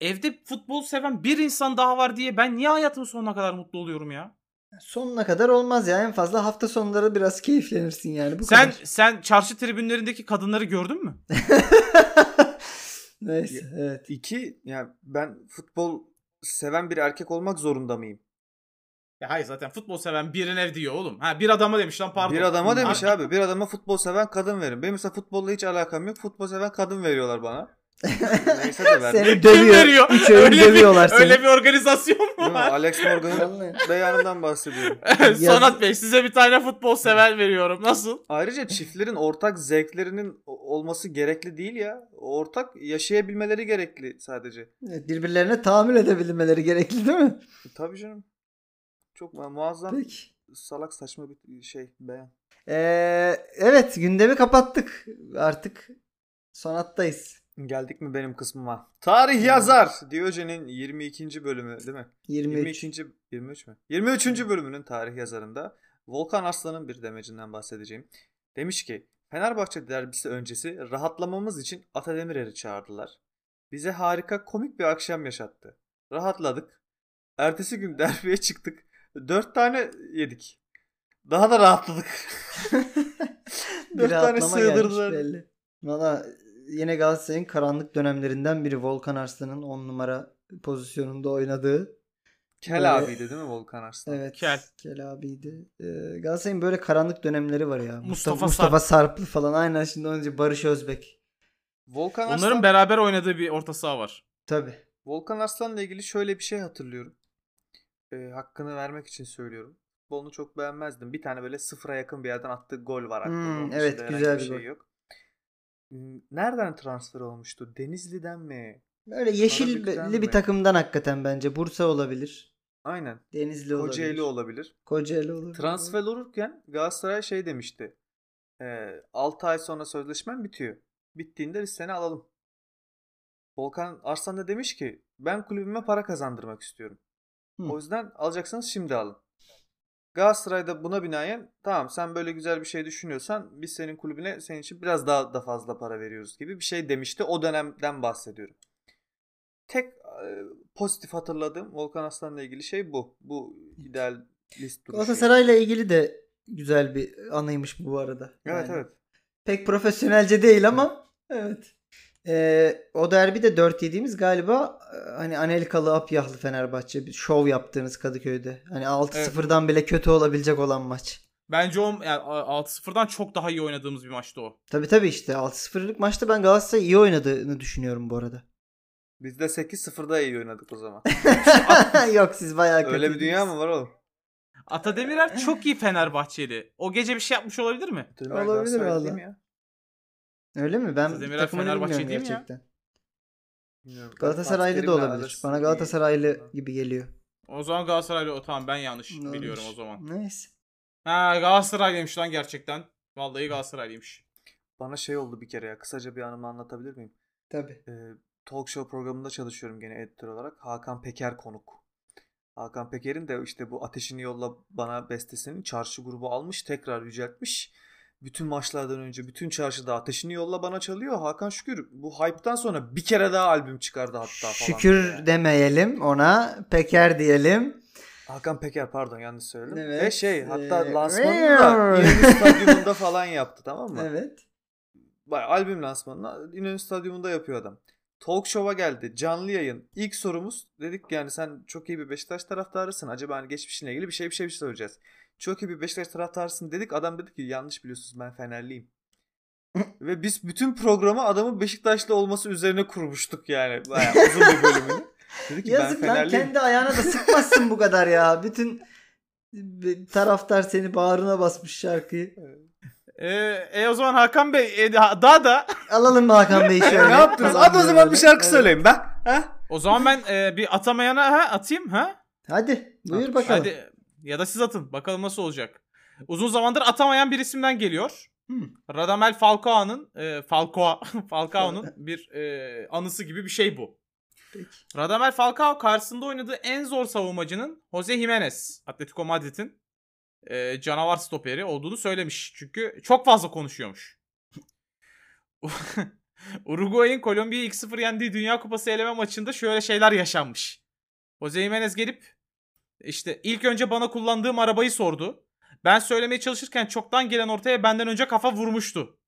Evde futbol seven bir insan daha var diye ben niye hayatımın sonuna kadar mutlu oluyorum ya?
Sonuna kadar olmaz ya. En fazla hafta sonları biraz keyiflenirsin yani. Bu
sen
kadar.
sen çarşı tribünlerindeki kadınları gördün mü?
Neyse evet.
İki yani ben futbol seven bir erkek olmak zorunda mıyım?
Ya E, hayır zaten futbol seven birin ev diyor oğlum. Ha bir adama demiş lan pardon.
Bir adama demiş
Ha,
abi bir adama futbol seven kadın verin. Benim mesela futbolla hiç alakam yok. Futbol seven kadın veriyorlar bana. Neyse de verdi.
Seni
Kim
dövüyor.
veriyor?
Üç öğün
öyle
dövüyorlar
bir,
seni.
Öyle bir organizasyon mu
Değil mi?
var?
Alex Morgan'ın beyanından bahsediyorum.
Sonat Bey size bir tane futbol sever veriyorum. Nasıl?
Ayrıca çiftlerin ortak zevklerinin o- olması gerekli değil ya. Ortak yaşayabilmeleri gerekli sadece.
Evet, Birbirlerine tahammül edebilmeleri gerekli değil mi?
E, Tabii canım. Çok mu- muazzam
Peki.
salak saçma bir şey beyan.
Ee, evet gündemi kapattık. Artık sonattayız.
Geldik mi benim kısmıma? Tarih yazar Diyojen'in 22. bölümü değil mi?
23.
22. 23 mü? 23. bölümünün tarih yazarında Volkan Arslan'ın bir demecinden bahsedeceğim. Demiş ki Fenerbahçe derbisi öncesi rahatlamamız için Ata Demirer'i çağırdılar. Bize harika komik bir akşam yaşattı. Rahatladık. Ertesi gün derbiye çıktık. 4 tane yedik. Daha da rahatladık.
Bir
Dört tane
rahatlama gelmiş
sığdırdılar.
belli. Valla yine Galatasaray'ın karanlık dönemlerinden biri Volkan Arslan'ın 10 numara pozisyonunda oynadığı. Böyle-
Kel abiydi değil mi Volkan Arslan?
Evet.
Kel.
abiydi. Ee, Galatasaray'ın böyle karanlık dönemleri var ya. Mustafa,
Mustafa
Mustafa, Sarplı falan. Aynen şimdi önce Barış Özbek.
Volkan Arslan
Onların beraber oynadığı bir orta saha var.
Tabii.
Volkan Arslan'la ilgili şöyle bir şey hatırlıyorum. Ee, hakkını vermek için söylüyorum. Futbolunu çok beğenmezdim. Bir tane böyle sıfıra yakın bir yerden attığı gol var aklımda.
Hmm,
Onun
evet,
dışında herhangi şey
güzel bir gol.
yok. Hmm, Nereden transfer olmuştu? Denizli'den mi?
Böyle yeşilli
Karabük'ten
bir
mi?
takımdan hakikaten bence. Bursa olabilir.
Aynen.
Denizli olabilir.
Kocaeli olabilir.
Kocaeli olabilir.
Transfer olurken Galatasaray şey demişti. Ee, 6 ay sonra sözleşmen bitiyor. Bittiğinde biz seni alalım. Volkan Arslan da demiş ki ben kulübüme para kazandırmak istiyorum.
Hı.
O yüzden alacaksanız şimdi alın. Galatasaray'da buna binaen tamam sen böyle güzel bir şey düşünüyorsan biz senin kulübüne senin için biraz daha da fazla para veriyoruz gibi bir şey demişti. O dönemden bahsediyorum. Tek e, pozitif hatırladığım Volkan Aslan'la ilgili şey bu. Bu ideal list duruşu.
Galatasaray'la ilgili de güzel bir anıymış bu arada.
Evet
Yani
evet.
Pek profesyonelce değil ama evet. Ee, o derbi de 4 yediğimiz galiba e, hani Anelkalı Apyahlı Fenerbahçe bir şov yaptığınız Kadıköy'de. Hani 6-0'dan bile kötü olabilecek olan maç.
Bence o yani 6-0'dan çok daha iyi oynadığımız bir maçtı o.
Tabi tabi işte 6-0'lık maçta ben Galatasaray iyi oynadığını düşünüyorum bu arada.
Biz de 8-0'da iyi oynadık o zaman.
Yok siz bayağı kötü.
Öyle bir dünya mı var oğlum?
Atademirer çok iyi Fenerbahçeli. O gece bir şey yapmış olabilir mi?
Dönüver
Olabilir
Galatasaray
valla.
değil mi ya?
Öyle mi? Ben
Demirel
takımını
Fenerbahçe
bilmiyorum
değil mi ya?
gerçekten.
Bilmiyorum. Ben
Galatasaraylı da
Fatih Terim'le
olabilir.
arası
Bana
iyi.
Galatasaraylı gibi geliyor.
O zaman Galatasaraylı o tamam ben yanlış
Olabilir.
biliyorum o zaman.
Neyse.
Ha Galatasaraylıymış lan gerçekten. Vallahi Galatasaraylıymış.
Bana şey oldu bir kere ya. Kısaca bir anımı anlatabilir miyim?
Tabi.
Ee, talk show programında çalışıyorum gene editör olarak. Hakan Peker konuk. Hakan Peker'in de işte bu Ateşini Yolla Bana bestesinin çarşı grubu almış. Tekrar yüceltmiş. bütün maçlardan önce bütün çarşıda ateşini yolla bana çalıyor. Hakan Şükür bu hype'tan sonra bir kere daha albüm çıkardı hatta falan.
Şükür
Yani.
demeyelim ona. Peker diyelim.
Hakan Peker pardon yanlış söyledim.
Evet.
Ve şey hatta
Ee,
lansmanını da
Rear.
İnönü Stadyumunda falan yaptı tamam mı?
Evet.
Bayağı albüm lansmanını İnönü Stadyumunda yapıyor adam. Talk Show'a geldi. Canlı yayın. İlk sorumuz dedik ki yani sen çok iyi bir Beşiktaş taraftarısın. Acaba hani geçmişinle ilgili bir şey bir şey bir şey söyleyeceğiz. Çok iyi bir Beşiktaş taraftarısın dedik. Adam dedi ki yanlış biliyorsunuz ben Fenerliyim. Ve biz bütün programı adamın Beşiktaşlı olması üzerine kurmuştuk yani. Bayağı uzun bir bölümünü. Dedi ki
Yazık
ben
lan
Fenerliyim.
kendi ayağına da sıkmazsın bu kadar ya. Bütün taraftar seni bağrına basmış şarkıyı.
E, e o zaman Hakan Bey e, da- daha da
Alalım mı Hakan Bey şöyle?
Şey, Ne yaptınız?
Falan
Hadi o
böyle
zaman bir
böyle.
şarkı
Evet.
söyleyin ben. Ha?
o zaman ben e, bir atamayana ha atayım ha.
Hadi buyur bakalım.
Hadi ya da siz atın. Bakalım nasıl olacak. Uzun zamandır atamayan bir isimden geliyor.
Hmm.
Radamel Falcao'nun e, Falcao Falcao'nun bir e, anısı gibi bir şey bu.
Peki.
Radamel Falcao karşısında oynadığı en zor savunmacının Jose Jimenez, Atletico Madrid'in e, canavar stoperi olduğunu söylemiş. Çünkü çok fazla konuşuyormuş. Uruguay'ın Kolombiya'yı 2-0 yendiği Dünya Kupası eleme maçında şöyle şeyler yaşanmış. Jose Jimenez gelip işte ilk önce bana kullandığım arabayı sordu. Ben söylemeye çalışırken çoktan gelen ortaya benden önce kafa vurmuştu.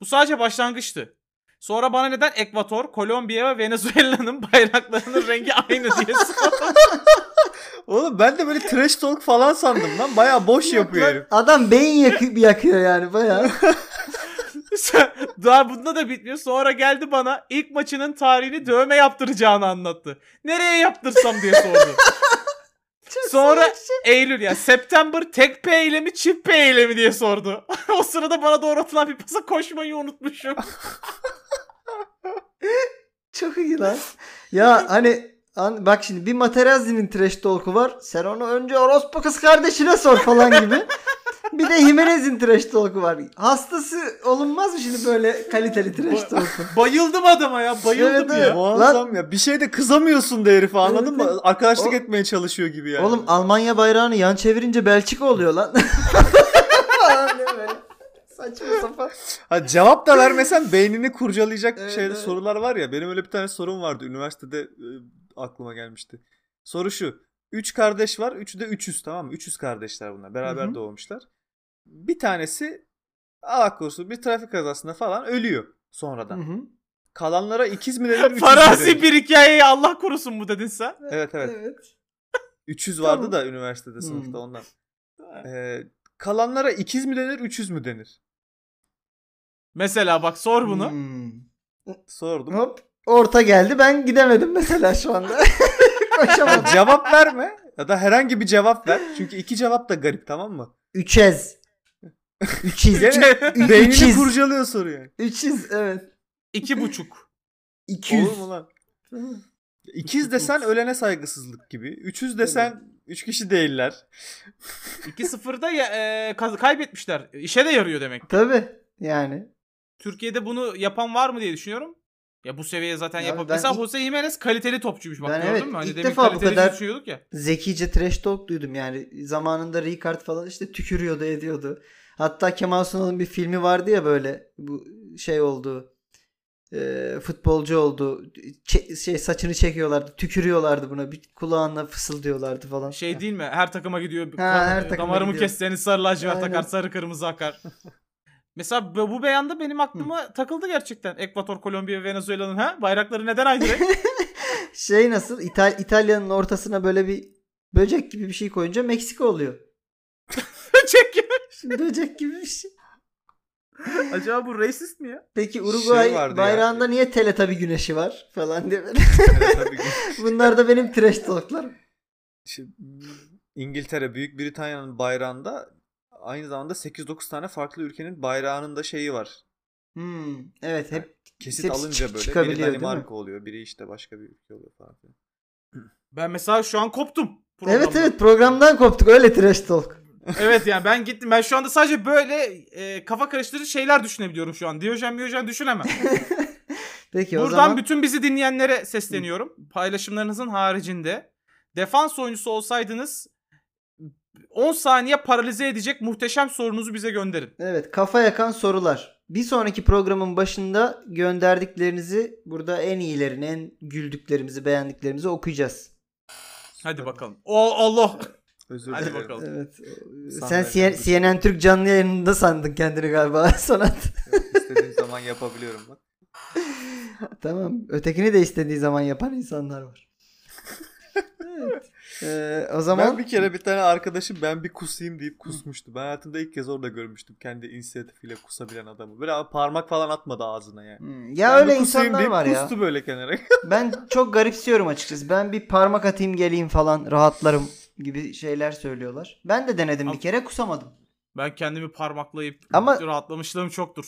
Bu sadece başlangıçtı. Sonra bana neden Ekvator, Kolombiya ve Venezuela'nın bayraklarının rengi aynı diye sordum.
Oğlum ben de böyle trash talk falan sandım lan. Bayağı boş şey yapıyor herif.
Adam beyin yakı- yakıyor yani bayağı.
Daha bunda da bitmiyor. Sonra geldi bana ilk maçının tarihini dövme yaptıracağını anlattı. Nereye yaptırsam diye sordu. Sonra Eylül ya September tek P eylemi çift P eylemi diye sordu. o sırada bana doğru atılan bir pasa koşmayı unutmuşum.
Çok iyi lan. Ya hani an- bak şimdi bir Materazzi'nin trash talk'u var. Sen onu önce orospu kız kardeşine sor falan gibi. Bir de Jimenez'in trash talk'u var. Hastası olunmaz mı şimdi böyle kaliteli trash
Bu-
talk'u?
Bayıldım adama ya bayıldım
Evet,
ya.
evet.
Muazzam ya. Bir şey de kızamıyorsun da herife anladın
Evet,
mı? Arkadaşlık
O-
etmeye çalışıyor gibi yani.
Oğlum Almanya bayrağını yan çevirince Belçika oluyor lan. Falan diye böyle. Saçma sapan.
Ha, cevap da vermesen beynini kurcalayacak
Evet,
şey,
evet.
sorular var ya. Benim öyle bir tane sorum vardı. Üniversitede e, aklıma gelmişti. Soru şu. Üç kardeş var. Üçü de üçüz tamam mı? Üçüz kardeşler bunlar. Beraber
Hı hı.
doğmuşlar. Bir tanesi Allah korusun bir trafik kazasında falan ölüyor sonradan.
Hı hı.
Kalanlara ikiz mi denir? üçüz mü denir?
Farazi bir hikayeyi Allah korusun bu dedin sen.
Evet evet.
Evet.
300
Tamam.
vardı da
Hmm.
üniversitede sınıfta ondan. Ee, kalanlara ikiz mi denir, 300 mü denir?
Mesela bak sor bunu.
Hmm.
Sordum.
Hop. Orta geldi. Ben gidemedim mesela şu anda. Koşamadım.
Ya cevap verme ya da herhangi bir cevap ver. Çünkü iki cevap da garip tamam mı?
Üçez. Üçiz.
Gene
Ü-
beynini
üçiz.
kurcalıyor soru yani.
Üçiz evet.
İki buçuk.
İki yüz.
Olur mu lan? İkiz desen ölene saygısızlık gibi. Üçüz desen üç kişi değiller.
İki sıfırda ya, e, kaz- kaybetmişler. İşe de yarıyor demek.
Tabii yani.
Türkiye'de bunu yapan var mı diye düşünüyorum. Ya bu seviyeye zaten
Ya
yapabilir.
ben
Mesela
ilk-
Jose Jimenez kaliteli topçuymuş bak
Ben
gördün
evet,
mü? Hani
ilk
demin
defa bu
kaliteli
kadar-
düşünüyorduk ya.
Zekice trash talk duydum yani. Zamanında Ricard falan işte tükürüyordu ediyordu. Hatta Kemal Sunal'ın bir filmi vardı ya böyle bu şey oldu. e, futbolcu oldu. Çe- şey saçını çekiyorlardı. Tükürüyorlardı buna. Bir kulağına fısıldıyorlardı falan.
Şey değil mi? Her takıma gidiyor.
Ha, her
e,
takıma
Damarımı
gidiyor.
kesseniz sarı lacivert
Aynen.
akar, sarı kırmızı akar. Mesela bu, bu beyanda benim aklıma takıldı gerçekten. Ekvator, Kolombiya, Venezuela'nın ha? Bayrakları neden aynı renk?
Şey nasıl? İtal- İtalya'nın ortasına böyle bir böcek gibi bir şey koyunca Meksika oluyor.
Çünkü-
böcek gibi bir şey.
Acaba bu racist mi ya?
Peki
Şey
Uruguay
vardı
bayrağında niye Teletabi güneşi var falan diye. böyle.
Evet, tabii ki.
Bunlar da benim trash talklar.
Şimdi İngiltere, Büyük Britanya'nın bayrağında aynı zamanda 8-9 tane farklı ülkenin bayrağının da şeyi var.
Hmm, evet hep
Kesit
Hepsi
alınca
çık-
böyle biri
çıkabiliyor, değil mi?
Danimarka oluyor, biri işte başka bir ülke oluyor falan. filan.
Ben mesela şu an koptum.
evet
programdan.
evet programdan koptuk öyle trash talk.
evet yani ben gittim. Ben şu anda sadece böyle e, kafa karıştırıcı şeyler düşünebiliyorum şu an. Diyojen miyojen düşünemem.
Peki o
Buradan
zaman
bütün bizi dinleyenlere sesleniyorum. Paylaşımlarınızın haricinde defans oyuncusu olsaydınız 10 saniye paralize edecek muhteşem sorunuzu bize gönderin.
Evet kafa yakan sorular. Bir sonraki programın başında gönderdiklerinizi burada en iyilerini, en güldüklerimizi, beğendiklerimizi okuyacağız.
Hadi bakalım. O Allah.
Özür
Hadi
dilerim.
bakalım.
Evet. Sen
Sandalye
C-
kaldı.
CNN Türk canlı yayınında sandın kendini galiba Sonat.
İstediğim zaman yapabiliyorum bak.
tamam. Ötekini de istediği zaman yapan insanlar var. evet. Ee, o zaman
Ben bir kere bir tane arkadaşım ben bir kusayım deyip kusmuştu. Ben hayatımda ilk kez orada görmüştüm kendi inisiyatifiyle kusabilen adamı. Böyle abi parmak falan atmadı ağzına yani.
Hmm, ya
Ben bir
öyle
kusayım
insanlar
deyip
var ya.
Kustu böyle kenara.
Ben çok garipsiyorum açıkçası. Ben bir parmak atayım geleyim falan rahatlarım gibi şeyler söylüyorlar. Ben de denedim bir
Ama-
kere kusamadım.
Ben kendimi parmaklayıp
Ama-
rahatlamışlığım çoktur.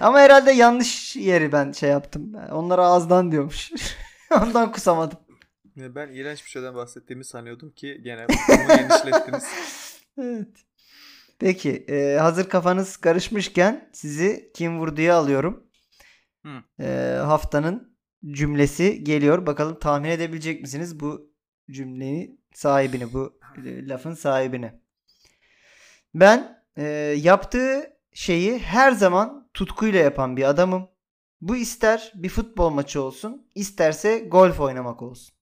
Ama herhalde yanlış yeri ben şey yaptım. Onlara ağızdan diyormuş. Ondan kusamadım.
Ya ben iğrenç bir şeyden bahsettiğimi sanıyordum ki gene bunu genişlettiniz.
Evet. Peki e, hazır kafanız karışmışken sizi kim vurduya alıyorum.
Hı.
E, haftanın cümlesi geliyor. Bakalım tahmin edebilecek misiniz bu cümleyi sahibini bu e, lafın sahibini. Ben e, yaptığı şeyi her zaman tutkuyla yapan bir adamım. Bu ister bir futbol maçı olsun, isterse golf oynamak olsun.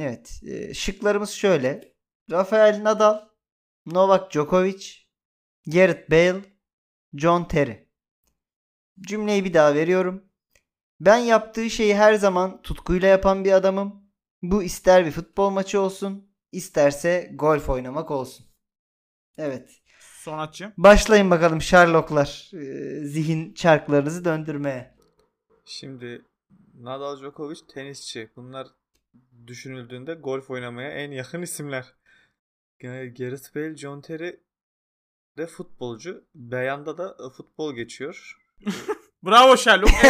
Evet, e, şıklarımız şöyle. Rafael Nadal, Novak Djokovic, Gareth Bale, John Terry. Cümleyi bir daha veriyorum. Ben yaptığı şeyi her zaman tutkuyla yapan bir adamım. Bu ister bir futbol maçı olsun, isterse golf oynamak olsun. Evet.
Sonatçım.
Başlayın bakalım Sherlocklar e, zihin çarklarınızı döndürmeye.
Şimdi Nadal Djokovic tenisçi. Bunlar düşünüldüğünde golf oynamaya en yakın isimler. Yani Gareth Bale, John Terry de futbolcu. Beyanda da e, futbol geçiyor.
Bravo Sherlock.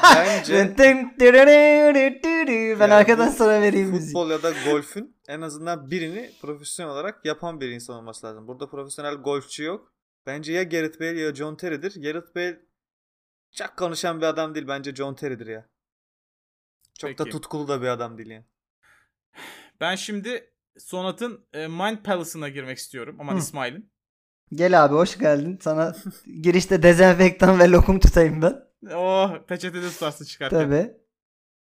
Ee,
Bence
Ah, ben
Yani
arkadan
bu
sana vereyim müziği.
futbol ya da golfün en azından birini profesyonel olarak yapan bir insan olması lazım. Burada profesyonel golfçi yok. Bence ya Gareth Bale ya John Terry'dir. Gareth Bale çok konuşan bir adam değil. Bence John Terry'dir ya. Çok da
Peki.
tutkulu da bir adam değil yani.
ben şimdi Sonat'ın e, Mind Palace'ına girmek istiyorum. Aman
Hı.
İsmail'in.
Gel abi hoş geldin. Sana girişte dezenfektan ve lokum tutayım ben.
Oh peçetede tutarsın çıkarken.
Tabii.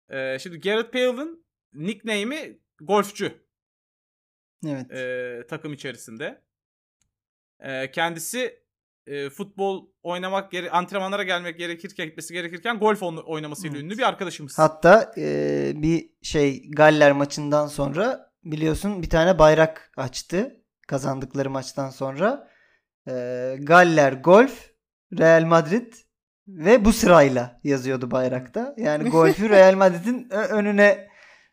Ee, şimdi Gareth Bale'ın nickname'i golfçü
Evet.
e, takım içerisinde. E, kendisi e, futbol oynamak gere- antrenmanlara gelmek gerekirken gitmesi gerekirken golf on- oynamasıyla
Evet.
ünlü bir arkadaşımız.
Hatta e, bir şey Galler maçından sonra biliyorsun bir tane bayrak açtı kazandıkları maçtan sonra. E, Galler golf, Real Madrid ve bu sırayla yazıyordu bayrakta. Yani golfü Real Madrid'in ö- önüne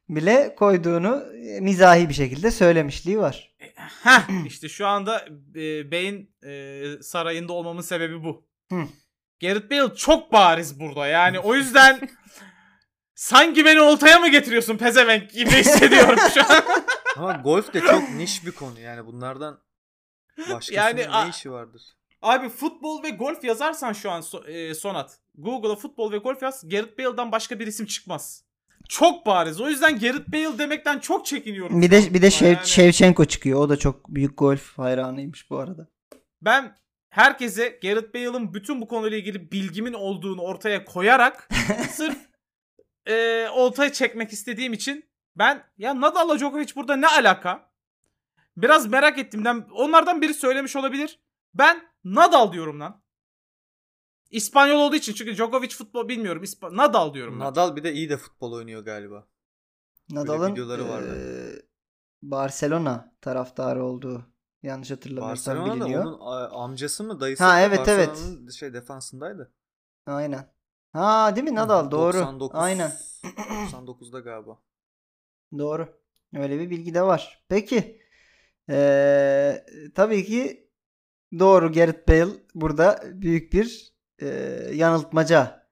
bile koyduğunu e, mizahi bir şekilde söylemişliği var.
Heh, işte şu anda e, Bey'in e, sarayında olmamın sebebi bu.
Hı.
Gareth Bale çok bariz burada. Yani o yüzden sanki beni oltaya mı getiriyorsun pezevenk gibi hissediyorum şu an.
Ama golf de çok niş bir konu yani bunlardan başkasının
Yani
ne
a-
işi vardır?
Abi futbol ve golf yazarsan şu an so- e, Sonat. Google'a futbol ve golf yaz. Gareth Bale'dan başka bir isim çıkmaz. Çok bariz. O yüzden Gareth Bale demekten çok çekiniyorum.
Bir de bir de Şev-
Yani-
Şevçenko çıkıyor. O da çok büyük golf hayranıymış bu arada.
Ben herkese Gareth Bale'ın bütün bu konuyla ilgili bilgimin olduğunu ortaya koyarak sırf e, oltaya çekmek istediğim için ben ya Nadal'la Djokovic burada ne alaka? Biraz merak ettiğimden onlardan biri söylemiş olabilir. Ben Nadal diyorum lan. İspanyol olduğu için çünkü Djokovic futbol bilmiyorum. İspa- Nadal diyorum ben.
Nadal bir de iyi de futbol oynuyor galiba.
Nadal'ın
videoları vardı.
eee, Barcelona taraftarı olduğu yanlış hatırlamıyorsam
Barcelona'da
biliniyor.
onun a- amcası mı dayısı
Ha,
mı
evet, evet.
Barcelona'nın şey defansındaydı.
Aynen. Ha
Hmm,
değil mi Nadal doğru.
99
Aynen
99'da galiba.
doğru. Öyle bir bilgi de var. Peki eee, tabii ki doğru Gareth Bale burada büyük bir eee, yanıltmaca.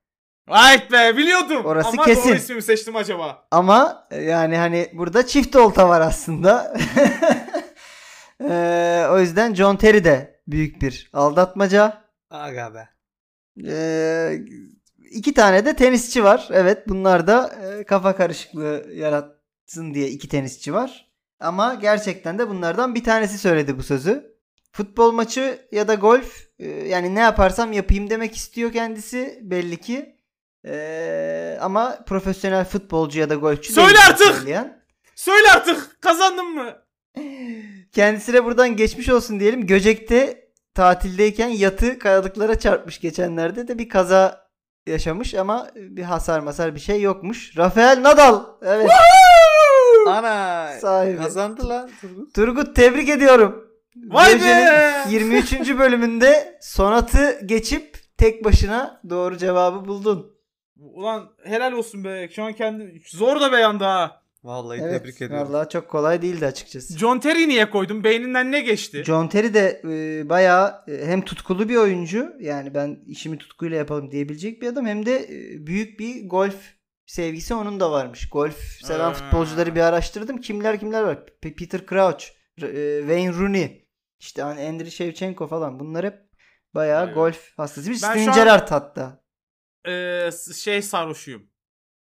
Ay be biliyordum.
Orası
Ama
kesin.
doğru ismi mi seçtim acaba?
Ama e, yani hani burada çift olta var aslında. Eee, o yüzden John Terry de büyük bir aldatmaca.
Aga be.
Ee, iki tane de tenisçi var. Evet bunlar da e, kafa karışıklığı yaratsın diye iki tenisçi var. Ama gerçekten de bunlardan bir tanesi söyledi bu sözü. Futbol maçı ya da golf e, yani ne yaparsam yapayım demek istiyor kendisi belli ki. E, ama profesyonel futbolcu ya da golfçü
Söyle
değil
artık!
söyleyen.
Söyle artık kazandın mı?
Kendisine buradan geçmiş olsun diyelim. Göcek'te tatildeyken yatı kayalıklara çarpmış geçenlerde de bir kaza yaşamış ama bir hasar masar bir şey yokmuş. Rafael Nadal evet
Ana
sahibi.
kazandı lan Turgut.
Turgut tebrik ediyorum.
Vay be!
Göce'nin 23. bölümünde sonatı geçip tek başına doğru cevabı buldun.
Ulan helal olsun be. Şu an kendi zor da beyandı ha.
Vallahi
Evet.
tebrik ediyorum.
Vallahi çok kolay değildi açıkçası.
John Terry niye koydum? Beyninden ne geçti?
John Terry de e, bayağı e, hem tutkulu bir oyuncu yani ben işimi tutkuyla yapalım diyebilecek bir adam hem de e, büyük bir golf sevgisi onun da varmış. Golf seven
Ha.
futbolcuları bir araştırdım. Kimler kimler var? P- Peter Crouch, R- e, Wayne Rooney, işte hani Andriy Shevchenko falan bunlar hep bayağı
Evet.
golf hastası. Bir
Ben
Steven
şu an-
Gerrard hatta.
Ee, s- şey sarhoşuyum.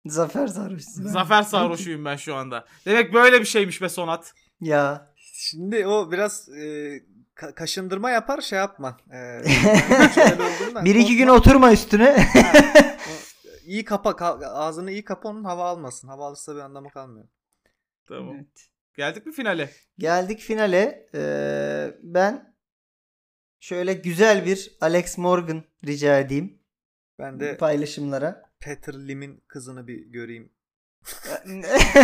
Zafer sarhoş.
Zafer sarhoşuyum ben şu anda. Demek böyle bir şeymiş be Sonat.
Ya.
Şimdi o biraz e, ka- kaşındırma yapar şey yapma. E, ben şöyle olduğumdan
Bir iki
korkma.
gün oturma üstüne.
İyi kapa ka- ağzını iyi kapa onun hava almasın. Hava alırsa bir anlamı kalmıyor.
Tamam. Geldik mi finale?
Geldik finale. Ee, ben şöyle güzel bir Alex Morgan rica edeyim
Ben de
paylaşımlara.
Peter Lim'in kızını bir göreyim.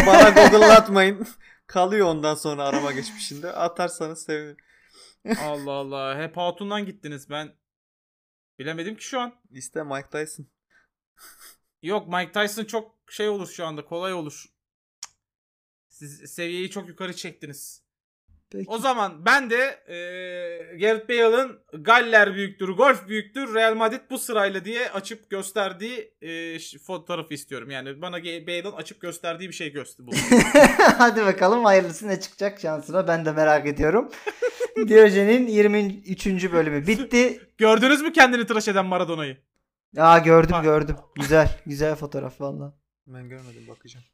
Bana google'latmayın. Kalıyor ondan sonra arama geçmişinde. Atarsanız sevinirim.
Allah Allah. Hep Hatun'dan gittiniz ben. Bilemedim ki şu an.
İste Mike Tyson.
Yok Mike Tyson çok şey olur şu anda. Kolay olur. Siz seviyeyi çok yukarı çektiniz.
Peki.
O zaman ben de eee Gareth Bale'ın Galler büyüktür, golf büyüktür, Real Madrid bu sırayla diye açıp gösterdiği eee, ş- fotoğrafı istiyorum. Yani bana Ge- Bale'ın açıp gösterdiği bir şey göster. bulun.
Hadi bakalım hayırlısı ne çıkacak şansına ben de merak ediyorum. Diyojen'in 23. bölümü bitti.
Gördünüz mü kendini tıraş eden Maradona'yı?
Aa gördüm
Bak.
gördüm. Güzel güzel fotoğraf valla.
Ben görmedim bakacağım.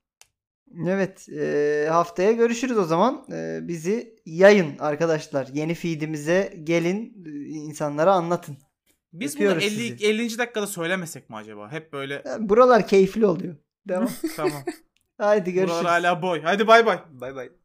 Evet e, haftaya görüşürüz o zaman. E, bizi yayın arkadaşlar. Yeni feedimize gelin e, insanlara anlatın.
Biz bunu
Öpüyoruz
50,
sizi.
50. dakikada söylemesek mi acaba? Hep böyle
Ya, Buralar E, keyifli oluyor. Devam.
tamam.
Haydi görüşürüz.
Buralar hala boy. Hadi bay bay.
Bay bay.